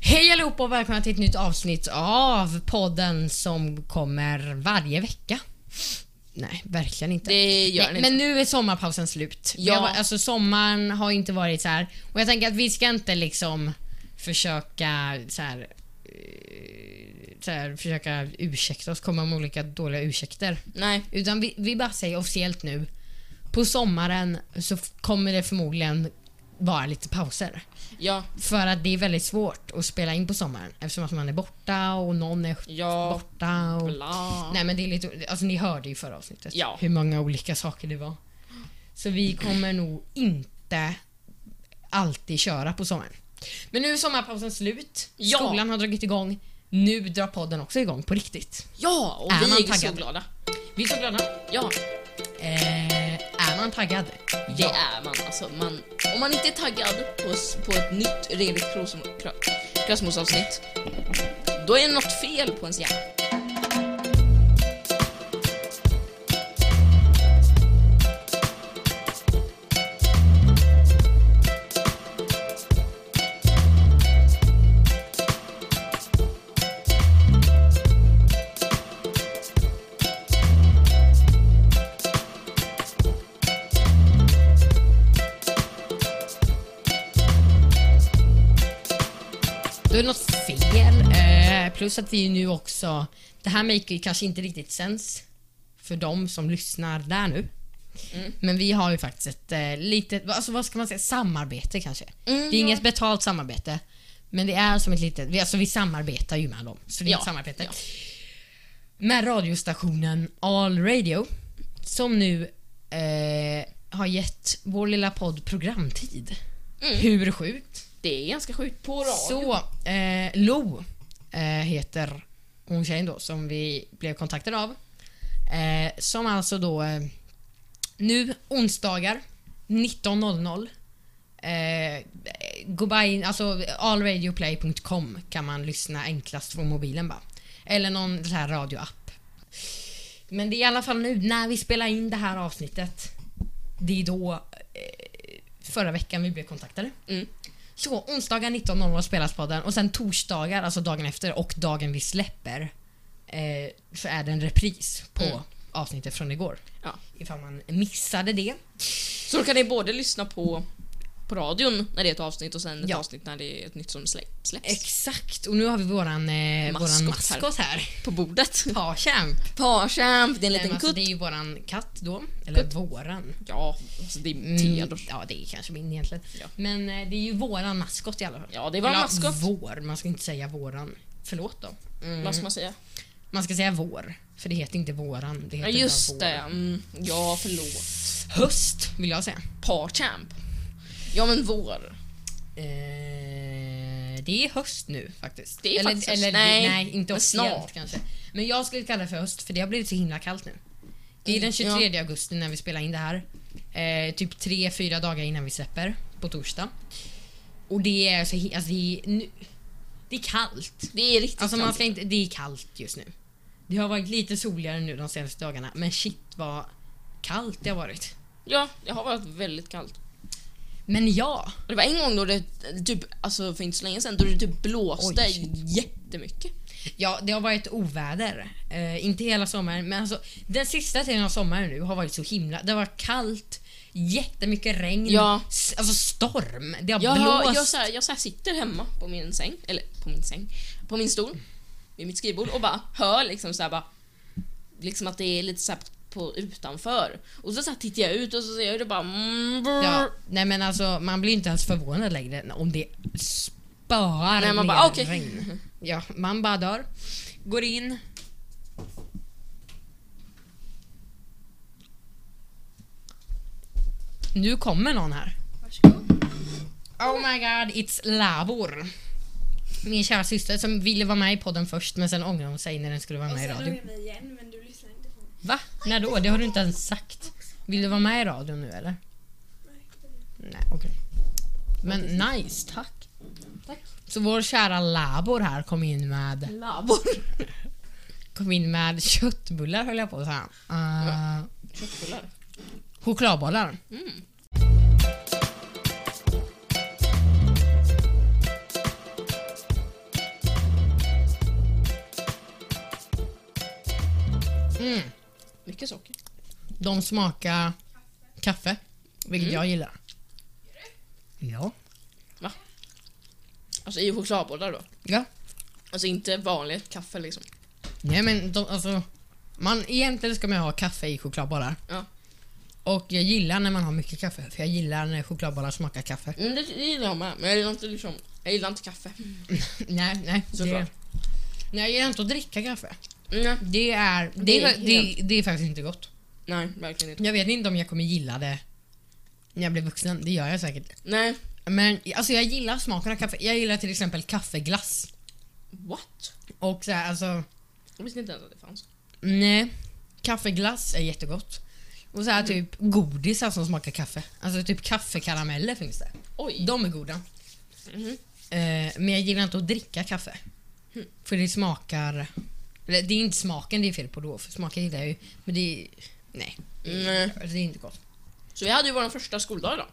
Hej allihopa och välkomna till ett nytt avsnitt av podden som kommer varje vecka. Nej, verkligen inte. Det gör Nej, den Men inte. nu är sommarpausen slut. Ja. Ja. Har, alltså sommaren har inte varit så här. Och jag tänker att vi ska inte liksom försöka så här, eh, så här försöka ursäkta oss, komma med olika dåliga ursäkter. Nej. Utan vi, vi bara säger officiellt nu. På sommaren så f- kommer det förmodligen vara lite pauser. Ja. För att det är väldigt svårt att spela in på sommaren eftersom att man är borta och någon är Ja. borta. Och... Bla. Nej men det är lite, alltså ni hörde ju förra avsnittet Ja. hur många olika saker det var. Så vi kommer nog inte alltid köra på sommaren. Men nu är sommarpausen slut, Ja. skolan har dragit igång, nu drar podden också igång på riktigt. Ja, och Är vi man är så taggad? glada. Vi är så glada. Ja, Eh, är man taggad? det är man. Alltså, man. Om man inte är taggad på, s- på ett nytt redigt Krosom- Kra- Krasmos-avsnitt, då är det något fel på ens hjärna. Då är det något fel. Eh, plus att vi nu också... Det här make ju kanske inte riktigt sens för de som lyssnar där nu. Mm. Men vi har ju faktiskt ett eh, litet, alltså vad ska man säga, samarbete kanske. Mm, det är inget betalt samarbete. Men det är som ett litet, vi, alltså vi samarbetar ju med dem. Så det är Ja, ett samarbete. ja. Med radiostationen All Radio. Som nu eh, har gett vår lilla podd programtid. Mm. Hur sjukt? Det är ganska sjukt. På radio. Så, eh, Lo eh, heter hon tjejen då som vi blev kontaktade av. Eh, som alltså då eh, nu onsdagar 19.00 eh, gå in, alltså allradioplay.com kan man lyssna enklast från mobilen bara. Eller någon sån här radioapp. Men det är i alla fall nu när vi spelar in det här avsnittet. Det är då eh, förra veckan vi blev kontaktade. Mm. Så onsdagar 19.00 spelas podden och sen torsdagar, alltså dagen efter och dagen vi släpper eh, så är det en repris på Mm. avsnittet från igår. Ja. Ifall man missade det. så då kan ni både lyssna på, på radion när det är ett avsnitt och sen ett Ja. avsnitt när det är ett nytt som slä- släpps. Exakt, och nu har vi våran, eh, Maskot våran här. maskot här. på bordet. Parchamp. Parchamp, det är Nej, men en liten Alltså, kutt. det är ju våran katt då. Eller våran. Ja, alltså det är Mm, Theodor. ja, det är kanske min egentligen. Ja. Men eh, det är ju våran maskot i alla fall. Ja, det är vår Eller, maskot. Vår, man ska inte säga våran. Förlåt då. Vad ska man säga? Man ska säga vår, för det heter inte våran. Det Ja, heter bara just vår. det. Mm, ja, förlåt. Höst vill jag säga. Parchamp. Ja men vår. Eh, det är höst nu faktiskt. Det är eller, faktiskt höst. eller, Nej, nej, inte men officiellt snart. kanske. Men jag skulle kalla det för höst för det har blivit så himla kallt nu. Det Mm, är den 23 augusti när vi spelar in det här. Eh, typ 3-4 dagar innan vi släpper på torsdag. Och det är så hi- alltså, det, är, nu, det är kallt. Det är riktigt Alltså man kallt. ska inte, det är kallt just nu. Det har varit lite soligare nu de senaste dagarna men shit vad kallt det har varit. Ja, det har varit väldigt kallt. Men ja, Och det var en gång då det typ, alltså för inte så länge sedan, då det typ blåste Oj, shit. jättemycket. Ja, det har varit oväder. Eh, inte hela sommaren, men alltså den sista tiden av sommaren nu har varit så himla... Det har varit kallt, jättemycket regn, Ja. s- alltså storm. Det har Jag, har, blåst. jag, så här, jag så här sitter hemma på min säng, eller på min säng, på min stol, vid mitt skrivbord och bara hör liksom så här bara, liksom att det är lite så här på utanför. Och så, så här tittar jag ut och så ser jag det bara mm, ja, nej men alltså man blir inte ens förvånad längre om det spöar Nej, man ner bara, "Ah, okej. regn. Ja, man bara dör. Går in. Nu kommer någon här. Varsågod. Oh my god, it's Lavor. Min kära syster som ville vara med i podden först men sen ångrade hon sig när den skulle vara Och med i sen radio. ångrade vi igen men du lyssnade inte på mig. Va? När då? Det har du inte ens sagt. Vill du vara med i radion nu eller? Nej, okej. Men nice, tack. Tack. Så vår kära Labor här kom in med, Labor. kom in med köttbullar höll jag på att säga. Eh, Köttbullar. chokladbollar. Mm. Mycket socker. De smakar kaffe, vilket jag gillar. Ja. Alltså i chokladbollar då. Ja. Alltså inte vanligt kaffe liksom. Nej men de, alltså, man, egentligen ska man ju ha kaffe i chokladbollar. Ja. Och jag gillar när man har mycket kaffe, för jag gillar när chokladbollar smakar kaffe. Mm, det det gillar jag med, men jag gillar inte, liksom, jag gillar inte kaffe. Mm, nej, nej. Det, Såklart. nej, jag gillar inte att dricka kaffe. Nej, Det är, det, Det är, är det, helt- det är faktiskt inte gott. nej, verkligen inte. Jag vet inte om jag kommer gilla det när jag blir vuxen, det gör jag säkert. Nej, Men alltså, jag gillar smaken av kaffe. Jag gillar till exempel kaffeglass. what? Och så här, alltså, Jag visste inte ens att det fanns. nej. Kaffeglass är jättegott. Och så här typ godisar som smakar kaffe. Alltså typ kaffekarameller finns det. Oj. De är goda. Mhm. Eh, men jag gillar inte att dricka kaffe. För det smakar... Eller det är inte smaken det är fel på då, för smaken gillar jag ju. Men det är... Nej. Alltså, Nej. Det är inte gott. Så vi hade ju vår första skoldag idag.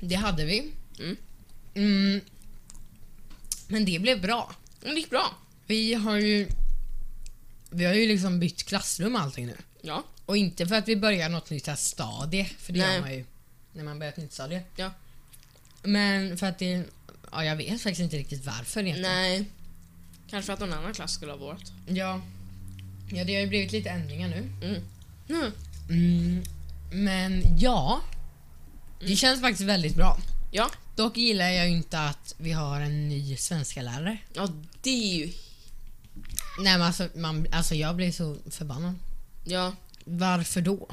Det hade vi. Mm. Mm. Men det blev bra. Men Det gick bra. Vi har ju... Vi har ju liksom bytt klassrum och allting nu. Ja, Och inte för att vi börjar något nytt här stadie, för det Nej. gör man ju när man börjar ett nytt stadie. ja. Men för att det... Ja, jag vet faktiskt inte riktigt varför egentligen. Nej. Kanske för att någon annan klass skulle ha vårt. Ja. ja, det har ju blivit lite ändringar nu. Mm. Mm. Mm. Mm, men ja, det känns faktiskt väldigt bra. Ja. Dock gillar jag ju inte att vi har en ny svenska lärare. ja, det är ju... Nej men alltså, man, alltså jag blir så förbannad. Ja. Varför då?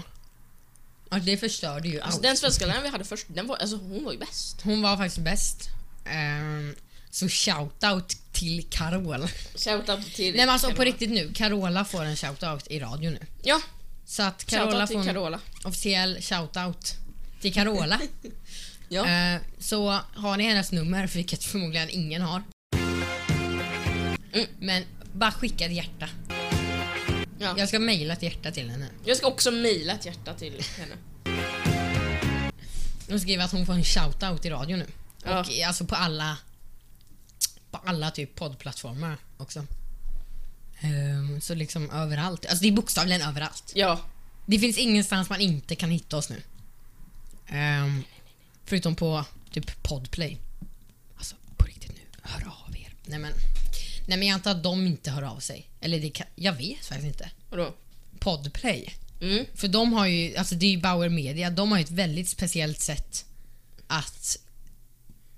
Alltså, det förstörde ju Alltså, allt. den svenska läraren vi hade först, den var, alltså, hon var ju bäst. Hon var faktiskt bäst. Ehm, så shoutout till Carola. Nej Shoutout till... men alltså på Carola. riktigt nu, Carola får en shoutout i radio nu. Ja, Så att Carola shoutout får till en Carola. officiell shoutout till Carola. Ja. Eh, Så har ni hennes nummer, vilket förmodligen ingen har. Mm. Men bara skicka ett hjärta. Ja. Jag ska mejla ett hjärta till henne Jag ska också mejla ett hjärta till henne. och skriva att hon får en shoutout i radio nu. Ja. Och i- alltså på alla på alla typ poddplattformar också. Ehm, så liksom överallt. Alltså det är bokstavligen överallt. Ja. Det finns ingenstans man inte kan hitta oss nu. Ehm, förutom på typ Podplay. Alltså på riktigt nu, hör av er. Nej men, nej men jag antar att de inte hör av sig. Eller det kan, jag vet faktiskt inte. Vadå? Podplay. Mm. För de har ju, alltså det är ju Bauer Media, de har ju ett väldigt speciellt sätt att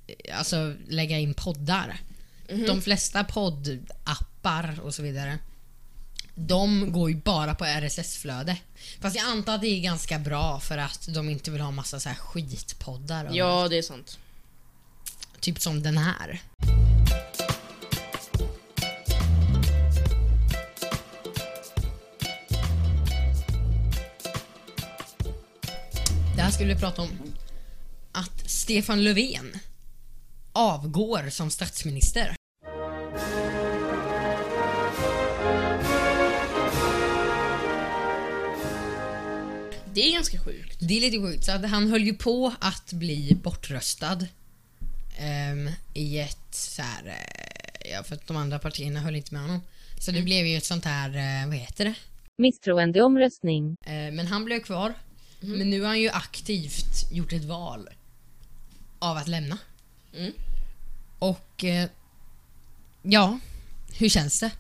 eh, alltså lägga in poddar. De flesta poddappar och så vidare, de går ju bara på RSS-flöde. Fast jag antar att det är ganska bra för att de inte vill ha massa så här skitpoddar. och- Ja, det är sant. Typ som den här. Det här skulle vi prata om. Att Stefan Löfven avgår som statsminister. Det är ganska sjukt. Det är lite sjukt. Så att han höll ju på att bli bortröstad. ehm, I ett så här... eh, ja, för att de andra partierna höll inte med honom. Så det blev ju ett sånt här, eh, vad heter det? Misstroendeomröstning. Eh, Men han blev kvar. Mm. Men nu har han ju aktivt gjort ett val av att lämna. Mm. Och eh, ja, hur känns det?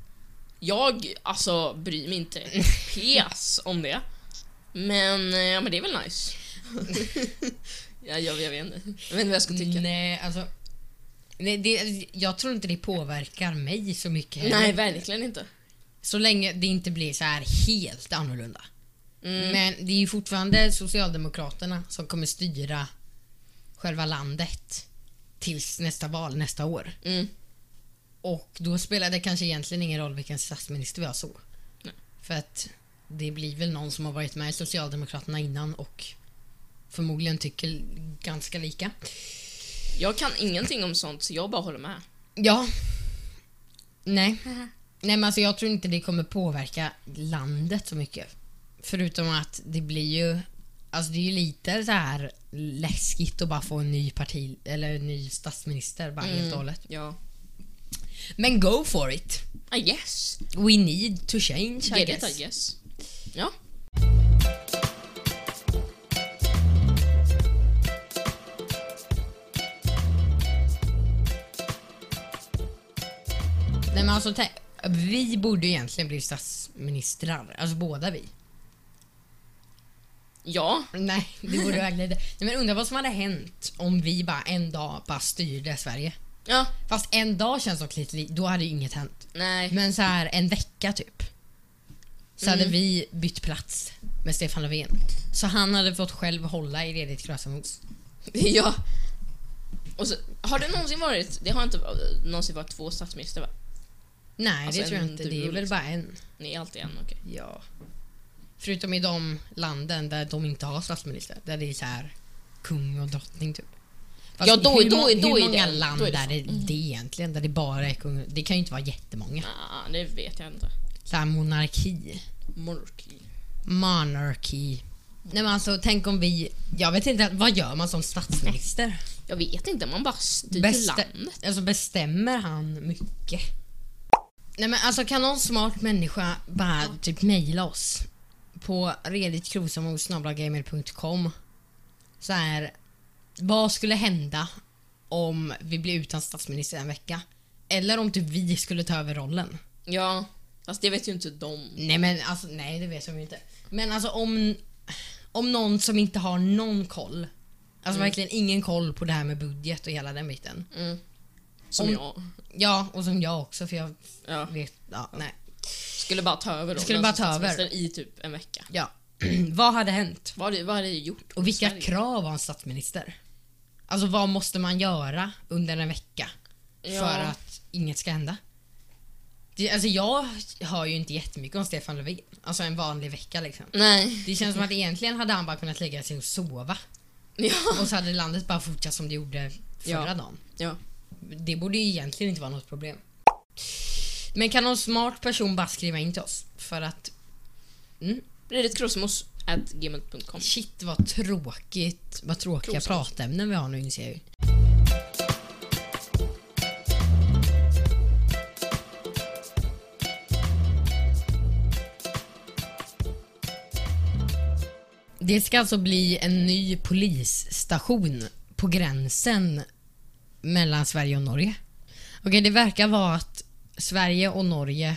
Jag, alltså, bryr mig inte ett pes om det. Men, eh, ja men det är väl nice. ja, jag, jag vet inte. Jag vet inte vad jag ska tycka. Nej, alltså. Nej, det, jag tror inte det påverkar mig så mycket. heller. Nej, verkligen inte. Så länge det inte blir så här helt annorlunda. Mm. Men det är ju fortfarande Socialdemokraterna som kommer styra själva landet tills nästa val nästa år. Mm. Och då spelar det kanske egentligen ingen roll vilken statsminister vi har så. Nej. För att det blir väl någon som har varit med i Socialdemokraterna innan och förmodligen tycker ganska lika. Jag kan ingenting om sånt, så jag bara håller med. Ja. Nej. Nej men alltså jag tror inte det kommer påverka landet så mycket. Förutom att det blir ju Alltså det är ju lite så här läskigt att bara få en ny parti eller en ny statsminister bara Mm. helt och hållet. Ja. Men go for it! I guess. We need to change I Get guess. it, I guess. Ja. Nej, men alltså, tänk- vi borde egentligen bli statsministrar. Alltså båda vi. Ja. Nej, det borde verkligen inte. Nej, men undra vad som hade hänt om vi bara en dag bara styrde Sverige. Ja. Fast en dag känns dock lite, li- då hade ju inget hänt. Nej. Men så här en vecka typ. Så hade vi bytt plats med Stefan Löfven. Så han hade fått själv hålla i ledigt krasamhus. Ja. Och så, har det någonsin varit, det har inte eh, någonsin varit två statsministrar va? Nej, Alltså, det tror jag en inte. duo, Det är väl liksom. bara en. Ni är alltid en, okej. Ja. Förutom i de landen där de inte har statsminister. Där det är så här kung och drottning typ. Fast Ja, då- hur, då- må- då är hur det- många då är land det Mm. är det, det egentligen? Där det bara är kung. Det kan ju inte vara jättemånga. Ah, det vet jag inte. Så här monarki. Monarki. Monarki. Nej men alltså tänk om vi, jag vet inte, vad gör man som statsminister? Jag vet inte, man bara styr Bestä- landet. alltså bestämmer han mycket? Nej men alltså kan någon smart människa bara typ mejla oss på redigtkrosamosnabblagamer.com så här, vad skulle hända om vi blir utan statsminister en vecka? Eller om typ vi skulle ta över rollen? Ja. Fast det vet ju inte de. Nej men alltså, nej det vet de ju inte. Men alltså om, om någon som inte har någon koll, alltså verkligen ingen koll på det här med budget och hela den biten. Som Om- jag. Ja, och som jag också för jag Ja. vet, ja nej. Skulle bara ta över rollen Skulle bara som ta över. statsminister i typ en vecka. Ja. vad hade hänt? Vad hade, vad hade det gjort? Och vilka Sverige? krav har en statsminister? Alltså vad måste man göra under en vecka för Ja. att inget ska hända? Det, alltså jag hör ju inte jättemycket om Stefan Löfven, alltså en vanlig vecka liksom. Mm. Nej. Det känns som att egentligen hade han bara kunnat lägga sig och sova. Ja. Och så hade landet bara fortsatt som det gjorde förra Ja. dagen. ja. Det borde ju egentligen inte vara något problem. Men kan någon smart person bara skriva in till oss? För att Redditkrosmos at gmail.com. shit vad tråkigt, vad tråkiga Krosigt. pratämnen vi har nu inser jag ju. Det ska alltså bli en ny polisstation på gränsen mellan Sverige och Norge. Okej, det verkar vara att Sverige och Norge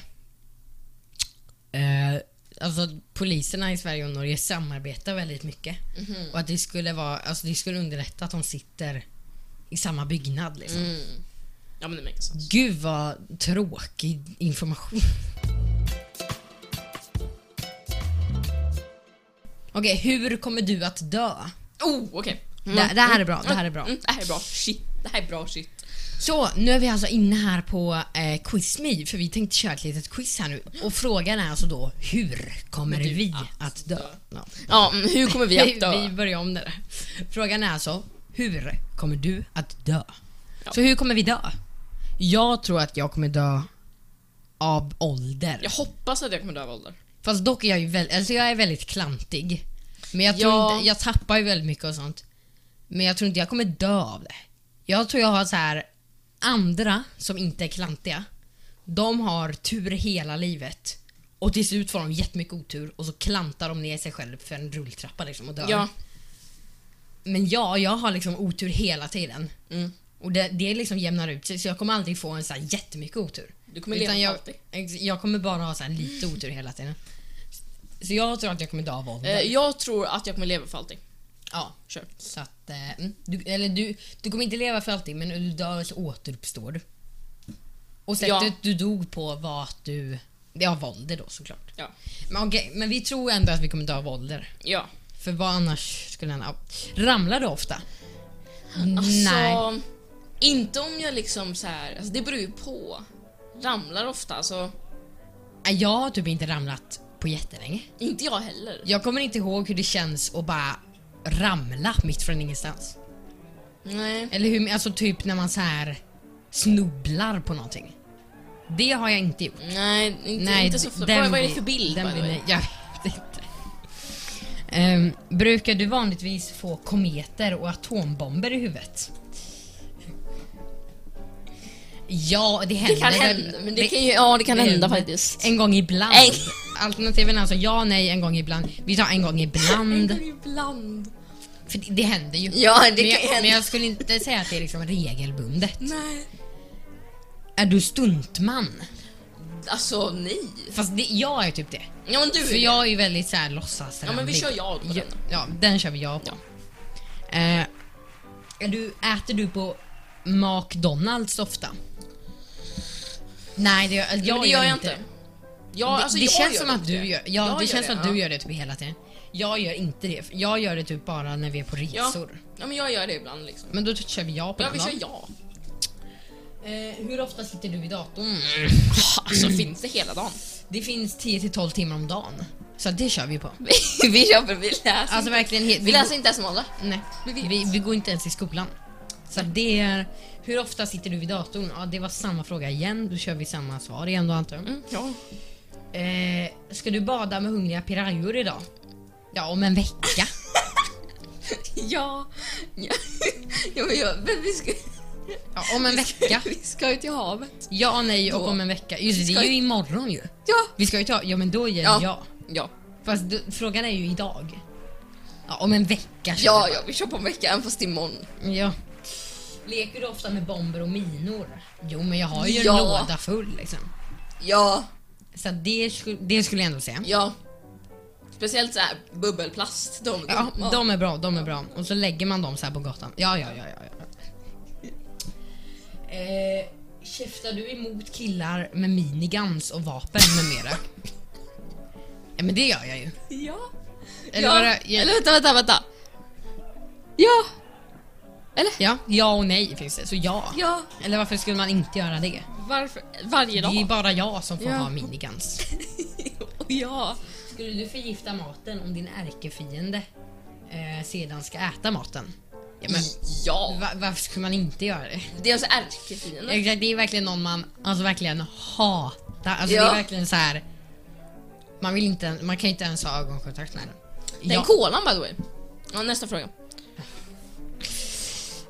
Eh, alltså poliserna i Sverige och Norge samarbetar väldigt mycket. Mhm. Och att det skulle, vara, alltså, det skulle underlätta att de sitter i samma byggnad. Liksom. Mm. Ja men det makes sense. Gud vad tråkig information. Okej, hur kommer du att dö? Oh okej. Mm. Det, det här är bra, det här är bra. Mm, det här är bra. Shit. Det här är bra shit. Så, nu är vi alltså inne här på eh, Quiz Me, för vi tänkte köra ett litet quiz här nu. Och frågan är alltså då, hur kommer Kommer du vi att att dö? dö? Ja. Ja, men Mm, hur kommer vi att Vi dö? börjar om det där. Frågan är alltså, hur kommer du att dö? Ja. Så hur kommer vi dö? Jag tror att jag kommer dö av ålder. Jag hoppas att jag kommer dö av ålder. Fast dock är jag ju väldigt, alltså jag är väldigt klantig. Men jag tror Ja. inte, jag tappar ju väldigt mycket och sånt. Men jag tror inte jag kommer dö av det. Jag tror jag har så här andra som inte är klantiga. De har tur hela livet. Och till slut får de jättemycket otur och så klantar de ner sig själv för en rulltrappa liksom och dör. Ja. Men jag, jag har liksom otur hela tiden. Mm. Och det, det liksom jämnar ut sig så jag kommer aldrig få en så här jättemycket otur. Du kommer leva jag, alltid. ex- jag kommer bara ha så här lite otur hela tiden. Så jag tror att jag kommer dö av ålder. Eh, jag tror att jag kommer leva för alltid. ja. Kör. Så att, eh, mm, du, eller du, du kommer inte leva för alltid men när du dör så återuppstår du. Och sättet Ja. du dog på var att du, det av ålder då såklart. Ja. Men okej, men vi tror ändå att vi kommer dö av ålder. Ja. För vad annars skulle hända? Ja. Ramlar du ofta? Alltså, Nej. inte om jag liksom så här, alltså det beror ju på. Ramlar ofta, alltså. Nej, Jag har typ inte ramlat på jättelänge. Inte jag heller. Jag kommer inte ihåg hur det känns att bara ramla mitt från ingenstans. Nej. Eller hur, alltså typ när man så här snubblar på någonting. Det har jag inte gjort. Nej, inte, inte så ofta. den Vad, vad är det blir- för bild? Den by the blir, way? nej, jag vet inte. Ehm, brukar du vanligtvis få kometer och atombomber i huvudet? Ja, det händer. Det kan väl. hända, men det kan ju, ja det kan det- hända faktiskt. En gång ibland. En- Alternativen är alltså ja, nej, en gång ibland. Vi tar en gång ibland. ibland. För det, det händer ju. Ja, det men, kan ju jag, men hända. jag skulle inte säga att det är liksom regelbundet. Nej. Är du stuntman? Alltså nej. Fast det, jag är typ det. Ja men du För jag är ju väldigt såhär låtsasrandig. Ja men vi kör jag på Ja, den. ja, den kör vi ja på. Eh, är du, äter du på McDonalds ofta? Nej, det, gör- jag, Ja, men det gör jag inte. Jag, Det, alltså, det jag känns gör som att inte du gör, ja, Jag det känns som att du ja. gör det typ hela tiden. Jag gör inte det. för Jag gör det typ bara när vi är på resor. Ja men jag gör det ibland liksom. Men då kör vi ja på Ja den vi va? kör ja. Eh, hur ofta sitter du i datorn? Alltså finns det hela dagen. Det finns 10 till 12 timmar om dagen. Så det kör vi på. vi köper, vi läser. Alltså verkligen helt... vi läser inte ens måndag. Nej, Vi vet. vi, vi går inte ens i skolan. Så det är... Hur ofta sitter du vid datorn? Ja, det var samma fråga igen. Då kör vi samma svar igen då antar jag. Ja. Eh, ska du bada med hungriga pirajor idag? Ja, om en vecka. Ja. Ja, ja men, jag, men vi ska... Ja, om en vecka. Vi ska ju till havet. Ja, nej och Då. om en vecka. Just det, det Ska är ju- ju imorgon ju. Ja. Vi ska ju ta... Ja, men då ger Ja. jag ja. Ja. Fast då, frågan är ju idag. Ja, om en vecka kör Ja, vi ja, vi kör på en vecka, även fast imorgon. bara. ja. Leker du ofta med bomber och minor? Jo, men jag har ju Ja. en låda full liksom. Ja, Så att det, skulle- det skulle jag ändå säga. ja. Speciellt så här bubbelplast. De, Ja, de är bra, de är bra. Och så lägger man dem så här på gatan. Ja, ja, ja, ja. ja. Eh, käftar du emot killar med miniguns och vapen med mera? ja, men det gör jag ju. Ja. Eller ja. var det- Eller vänta, vänta, vänta. Ja. Ja, ja och nej finns det. Så ja. Ja. Eller varför skulle man inte göra det? Varför? Varje Det är ju dag. bara jag som får Ja. ha miniguns. Ja. Skulle du förgifta maten om din ärkefiende eh, sedan ska äta maten? Ja, men, Ja. va- varför skulle man inte göra det? Det är alltså ärkefienden. Exakt, det är verkligen någon man alltså verkligen hatar. Alltså Ja. det är verkligen så här. Man, vill inte, man kan inte ens ha ögonkontakt med den. Den Ja. kolan by the way. Ja, nästa fråga.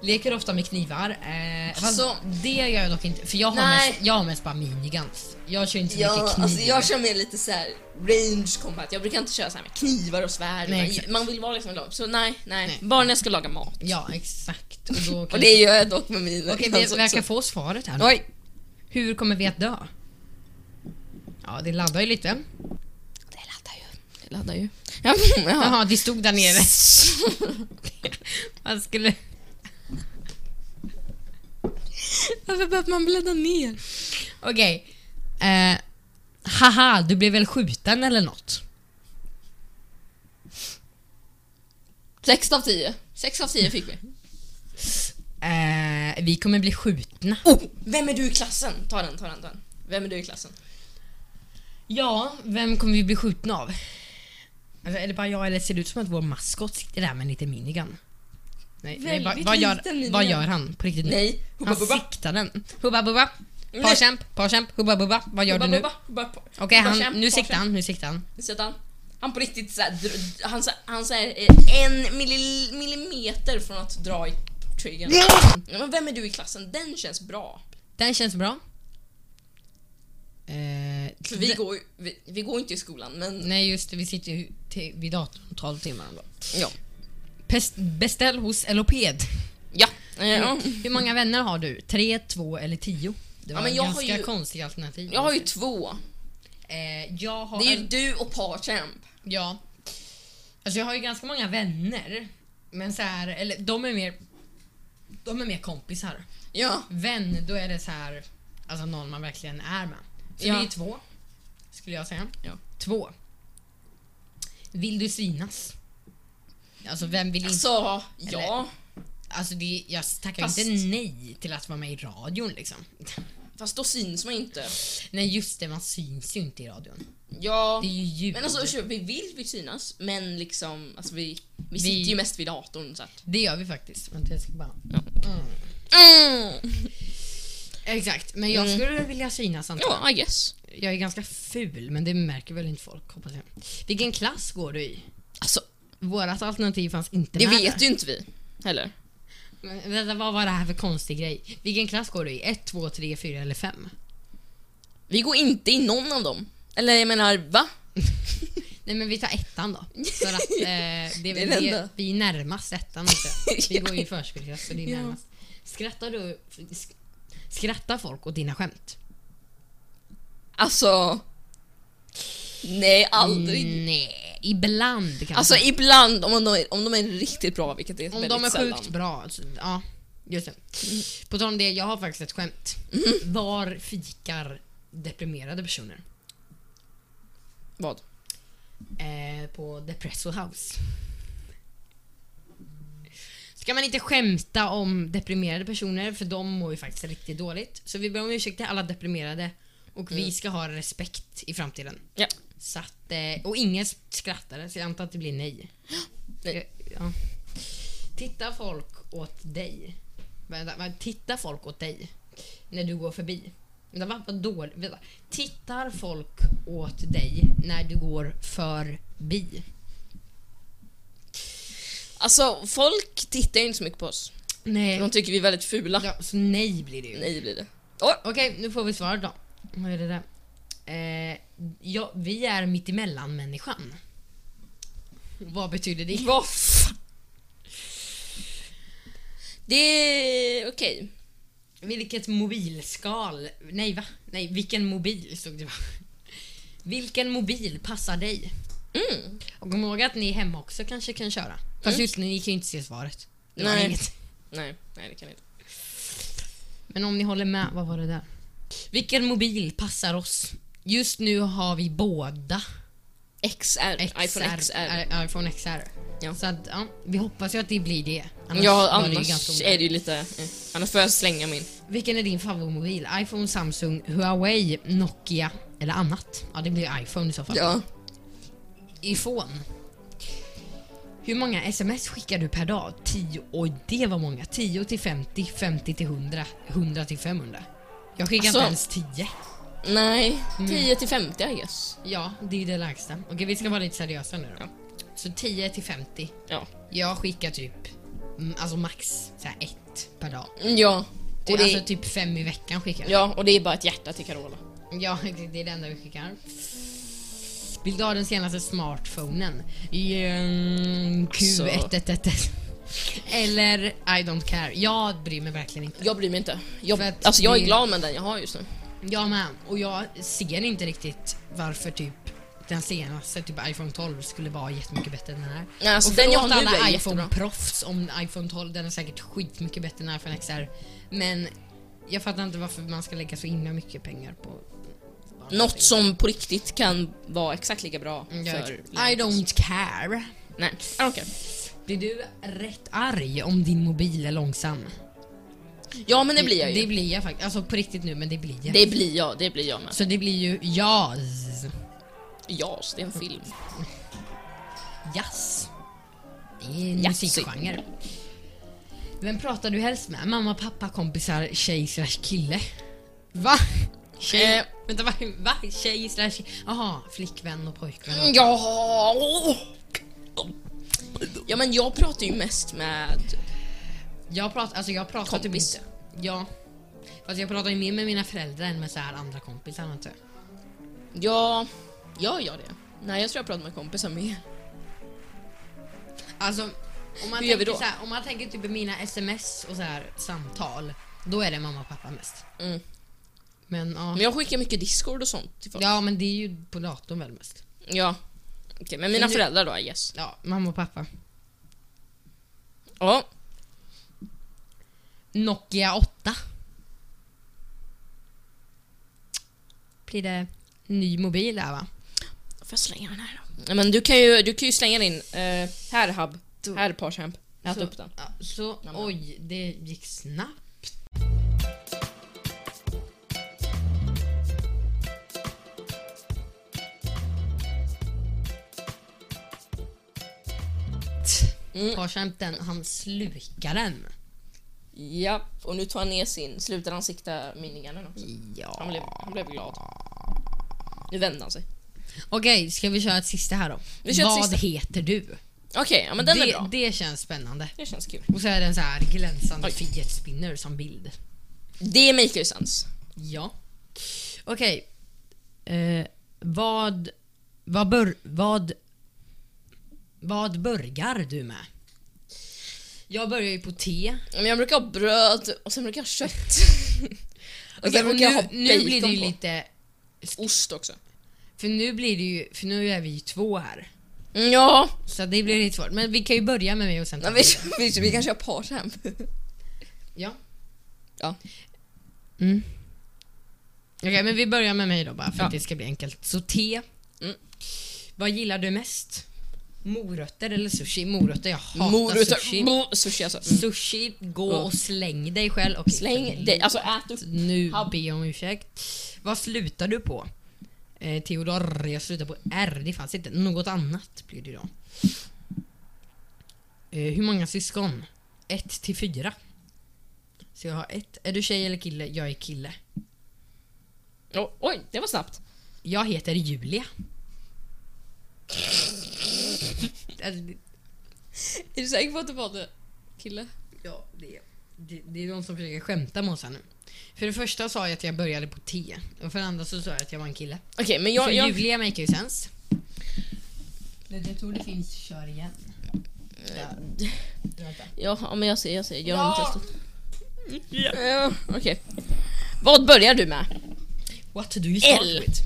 Leker ofta med knivar. Eh, fast Alltså- det gör jag dock inte. För jag har, Nej. mest, jag har mest bara miniguns. Jag kör inte så mycket Ja, kniv. alltså jag kör mer lite så här range combat. Jag brukar inte köra så här med knivar och svärd. Nej, Man- exakt. man vill vara liksom lag. Så nej, nej, Nej. Bara när jag ska laga mat. Ja, exakt. Och, då kan Och det gör jag dock med mina. Okej, vi alltså, verkar så- få svaret här. Oj. Hur kommer vi att dö? Ja, det laddar ju lite. Det laddar ju. Det laddar ju. Ja, Jaha, vi stod där nere. Man skulle... Varför behöver man bläddra ner? Okej. Eh, haha, du blev väl skjuten eller något? 6 av 10. 6 av 10 fick vi. Eh, vi kommer bli skjutna. Oh, vem är du i klassen? Ta den, ta den, ta den. Vem är du i klassen? Mm. Ja, vem kommer vi bli skjutna av? Alltså, är det bara jag eller ser det ut som att vår maskot sitter där med en liten minigun? Nej, nej vad, Väldigt vad, gör, liten minigun. vad gör han på riktigt nu? Nej, Hubba Han Bubba. siktar den. Hubba Bubba. Nej. Parkämp, parkämp, Hubba Bubba. Vad gör Hubba du nu? Bubba, Hubba Pa- Okej, Hubba han- Champ, nu Pa siktar Champ. han. Nu siktar han. Nu sitter han. Han på riktigt såhär, dr- han, så- han så här, eh, en milli, millimeter från att dra i triggern. Ja, Men vem är du i klassen? Den känns bra. Den känns bra. Eh, För vi den- går, ju- vi, vi går inte i skolan men... Nej just det, vi sitter ju till, vid datorn 12 timmar om dagen. Ja. Pest- Beställ hos Eloped. Ja. Eh, ja. Mm. Hur många vänner har du? Tre, två eller tio? Det var men en jag har ganska ju- konstiga alternativ. Jag har ju två. eh, jag har... Det är ju du och Parchamp. Ja. Alltså jag har ju ganska många vänner. Men så här, eller de är mer... De är mer kompisar. Ja. Vän, då är det så här... Alltså någon man verkligen är med. Så Ja. vi är två. Skulle jag säga. Ja. Två. Vill du synas? Alltså vem vill inte... Alltså, ja. Alltså det, jag tackar Fast- ju inte nej till att vara med i radion liksom. Fast då syns man inte. Nej just det, man syns ju inte i radion. Ja. Det är ju ljud. Men alltså ursäkta, vi vill vi synas men liksom, alltså vi, vi Vi- sitter ju mest vid datorn så att... Det gör vi faktiskt. Vänta, jag ska bara... Mm. Exakt, men jag Mm. skulle vilja synas antar jag. Ja, I guess. Jag är ganska ful, men det märker väl inte folk hoppas jag. Vilken klass går du i? Alltså, Vårat alternativ fanns inte det med vet där. ju inte vi heller. Men Vänta, vad var det här för konstig grej? Vilken klass går du i? 1, 2, 3, 4 eller 5? Vi går inte i någon av dem. Eller jag menar, va? Nej men vi tar ettan då. För att eh, det är väl Den det, enda. vi är närmast ettan också. Vi går ju i förskoleklass så det är Ja. närmast. Skrattar du... sk- Skrattar folk åt dina skämt? Alltså... Nej, aldrig. Mm. Nej, ibland kanske. Alltså ibland, om de, om de är riktigt bra, vilket är Om väldigt de är sällan. sjukt bra. alltså, Ja, just det. På tal om det, jag har faktiskt ett skämt. Var fikar deprimerade personer? Vad? Eh, på Depresso House. Ska man inte skämta om deprimerade personer för de mår ju faktiskt riktigt dåligt. Så vi ber om ursäkt till alla deprimerade och vi ska ha respekt i framtiden. Mm. Ja. Så att, eh, och ingen skrattade så jag antar att det blir nej. Eh, Nej. Ja. Tittar folk åt dig? Vänta, vänta, tittar folk åt dig när du går förbi? Vänta, vad, vad dåligt? Vänta. Tittar folk åt dig när du går förbi? Alltså folk tittar ju inte så mycket på oss. De Nej. tycker vi är väldigt fula. Ja, så nej blir det ju. Nej blir det. Åh! Okej, nu får vi svaret då. Vad är det där? Eh, ja, vi är mittemellan-människan. Vad betyder det? Vad fan? Det är okej. Vilket mobilskal... Nej, va? Nej, vilken mobil stod det va? Vilken mobil passar dig? Mm. Och kom ihåg att ni hemma också kanske kan köra. Fast just nu, ni kan ju inte se svaret. Det var Nej. inget. Nej, nej det kan jag inte. Men om ni håller med, vad var det där? Vilken mobil passar oss? Just nu har vi båda XR, XR, iPhone XR. i- iPhone XR. Ja. Så att, ja, vi hoppas ju att det blir det. ja, var det ju ganska annars onödigt. är det ju lite... Eh. Annars får jag slänga min. Vilken är din favoritmobil? iPhone, Samsung, Huawei, Nokia eller annat? Ja, det blir iPhone i så fall. Ja. ifrån. Hur många sms skickar du per dag? 10. Oj, det var många. 10 till 50, 50 till 100, 100 till 500. Jag skickar inte ens Alltså. 10. Nej, Mm. 10 till 50 I guess. Ja, det är ju det lägsta. Okej, vi ska vara lite seriösa nu då. Ja. Så 10 till 50. Ja. Jag skickar typ, mm, alltså max så här ett per dag. Ja. Det, Och det, Alltså typ fem i veckan skickar jag. ja, och det är bara ett hjärta till Carola. Ja, det är det enda vi skickar. Vill du ha den senaste smartphonen? Mm, Alltså. Q1111. Eller I don't care. Jag bryr mig verkligen inte. Jag bryr mig inte. För Jag, att alltså jag det- är glad med den jag har just nu. Jag med. Och jag ser inte riktigt varför typ den senaste, typ iPhone 12, skulle vara jättemycket bättre än den här. Nej, alltså och den jag har förlåt nu alla är jättebra. iPhone-proffs om iPhone 12, den är säkert skitmycket bättre än iPhone XR. Men jag fattar inte varför man ska lägga så himla mycket pengar på... Något som på riktigt kan vara exakt lika bra Mm, Jag för... vet. I don't care. Nej, I don't care. Blir du rätt arg om din mobil är långsam? Ja men det blir jag ju. Det blir jag faktiskt. Alltså på riktigt nu, men det blir jag. Det blir jag, det blir jag med. Så det blir ju jazz. Jas, det är en film. Jazz. Det är en Jazz. musikgenre. Vem pratar du helst med? Mamma, pappa, kompisar, tjej slash kille? Va? Tjej? Eh. Vänta, va? va? Tjej slash... Jaha, flickvän och pojkvän. och- Ja. Ja men jag pratar ju mest med... Jag pratar, alltså jag pratar typ Kompis. inte. Ja. Fast jag pratar ju mer med mina föräldrar än med så här andra kompisar. Inte. Ja, jag gör det. Nej jag tror jag pratar med kompisar med. Alltså, om man, Hur gör vi tänker, då? så här, om man tänker typ i mina sms och så här, samtal, då är det mamma och pappa mest. Mm. Men ja. Men jag skickar mycket discord och sånt till folk. Ja men det är ju på datorn väl mest. Ja. Okej, men mina Men du- föräldrar då, yes. Ja, mamma och pappa. Ja. Nokia 8. Blir det ny mobil där va? Får jag slänga den här då? Ja, men du kan ju, du kan ju slänga din... eh, här Hub. Här Parchamp. Ät Så- upp den. Ja, så, men. oj, det gick snabbt. Mm. Parshamten, han slukar den. Ja, och nu tar han ner sin... Slutar han sikta minigannen också? Han blev, Ja. han blev glad. Nu vänder han sig. Okej, ska vi köra ett sista här då? Vi kör ett Vad sista. heter du? Ja, Okej, ja men den det, är bra. det känns spännande. Det känns kul. Och så är den så här glänsande Oj. Fiat Spinner som bild. Det make ju sens. Ja. Okej. Eh, vad... Vad bör... Vad... Vad börjar du med? Jag börjar ju på te. Men jag brukar ha bröd och sen brukar jag ha kött. och Okej, sen Alltså, och brukar nu, jag ha nu blir det ju på. lite... Ost också. För nu blir det ju... För nu är vi ju två här. Mm, Ja, Så det blir lite svårt. Men vi kan ju börja med mig och sen... ja vi, vi, vi kanske har partem. Ja. Ja. Mm. Okej, men vi börjar med mig då bara för att Ja. det ska bli enkelt. Så te. Mm. Vad gillar du mest? Morötter eller sushi? Morötter, jag hatar Morötter, sushi. bo- sushi alltså. Mm. Sushi, gå Mm. och släng dig själv. Okej, Släng förlåt. dig, alltså ät upp. Nu Hab- ber jag om ursäkt. Vad slutar du på? Eh, Theodor, jag slutar på R. Det fanns inte. Något annat blir det då. Eh, hur många syskon? Ett till fyra. Så jag har ett. Är du tjej eller kille? Jag är kille. Oh, oj, det var snabbt. Jag heter Julia. Alltså, det- Är du säker på att det var det? Kille? ja, det, det, det är de som försöker skämta med oss här nu. För det första sa jag att jag började på T. Och för det andra så sa jag att jag var en kille. Okej, men jag... för jag Julia make ju sens. Jag tror det finns kör igen. Eh, Ja, ja, men jag ser, jag ser. Gör ja. testet. Ja, Okej. Vad börjar du med? What do you start L. with?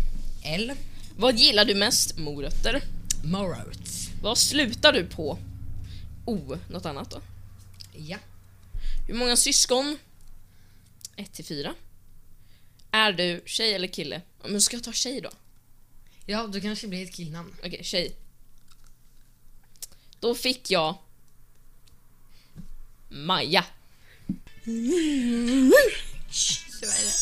L. Vad gillar du mest? Morötter. Morrows. Vad slutar du på? O, något annat då? Ja. Hur många syskon? 1 till 4. Är du tjej eller kille? Ja, Men ska jag ta tjej då? Ja, då kanske det blir ett killnamn. Okej, tjej. Då fick jag... Maja. Så är det.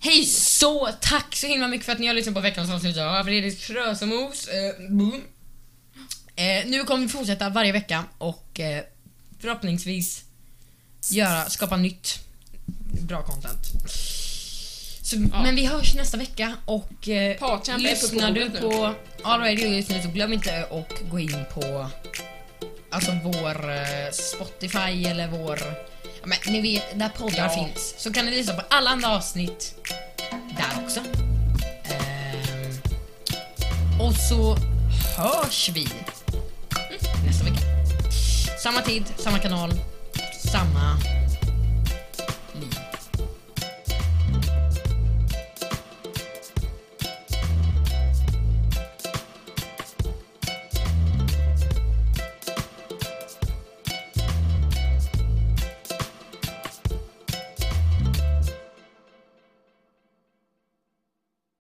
Hej så! Tack så himla mycket för att ni har lyssnat på veckans avsnitt av Fredriks Frösemos. Eh, boom. eh, nu kommer vi fortsätta varje vecka och eh, förhoppningsvis göra, skapa nytt bra content. Så, Ja. Men vi hörs nästa vecka och eh, Parchamp är på lyssnar du bordet nu. på All Radio just nu så glöm inte att gå in på alltså vår eh, Spotify eller vår... Ja, Men ni vet, där poddar Ja. finns. Så kan ni lyssna på alla andra avsnitt där också. Ehm, och så hörs vi nästa vecka. Samma tid, samma kanal, samma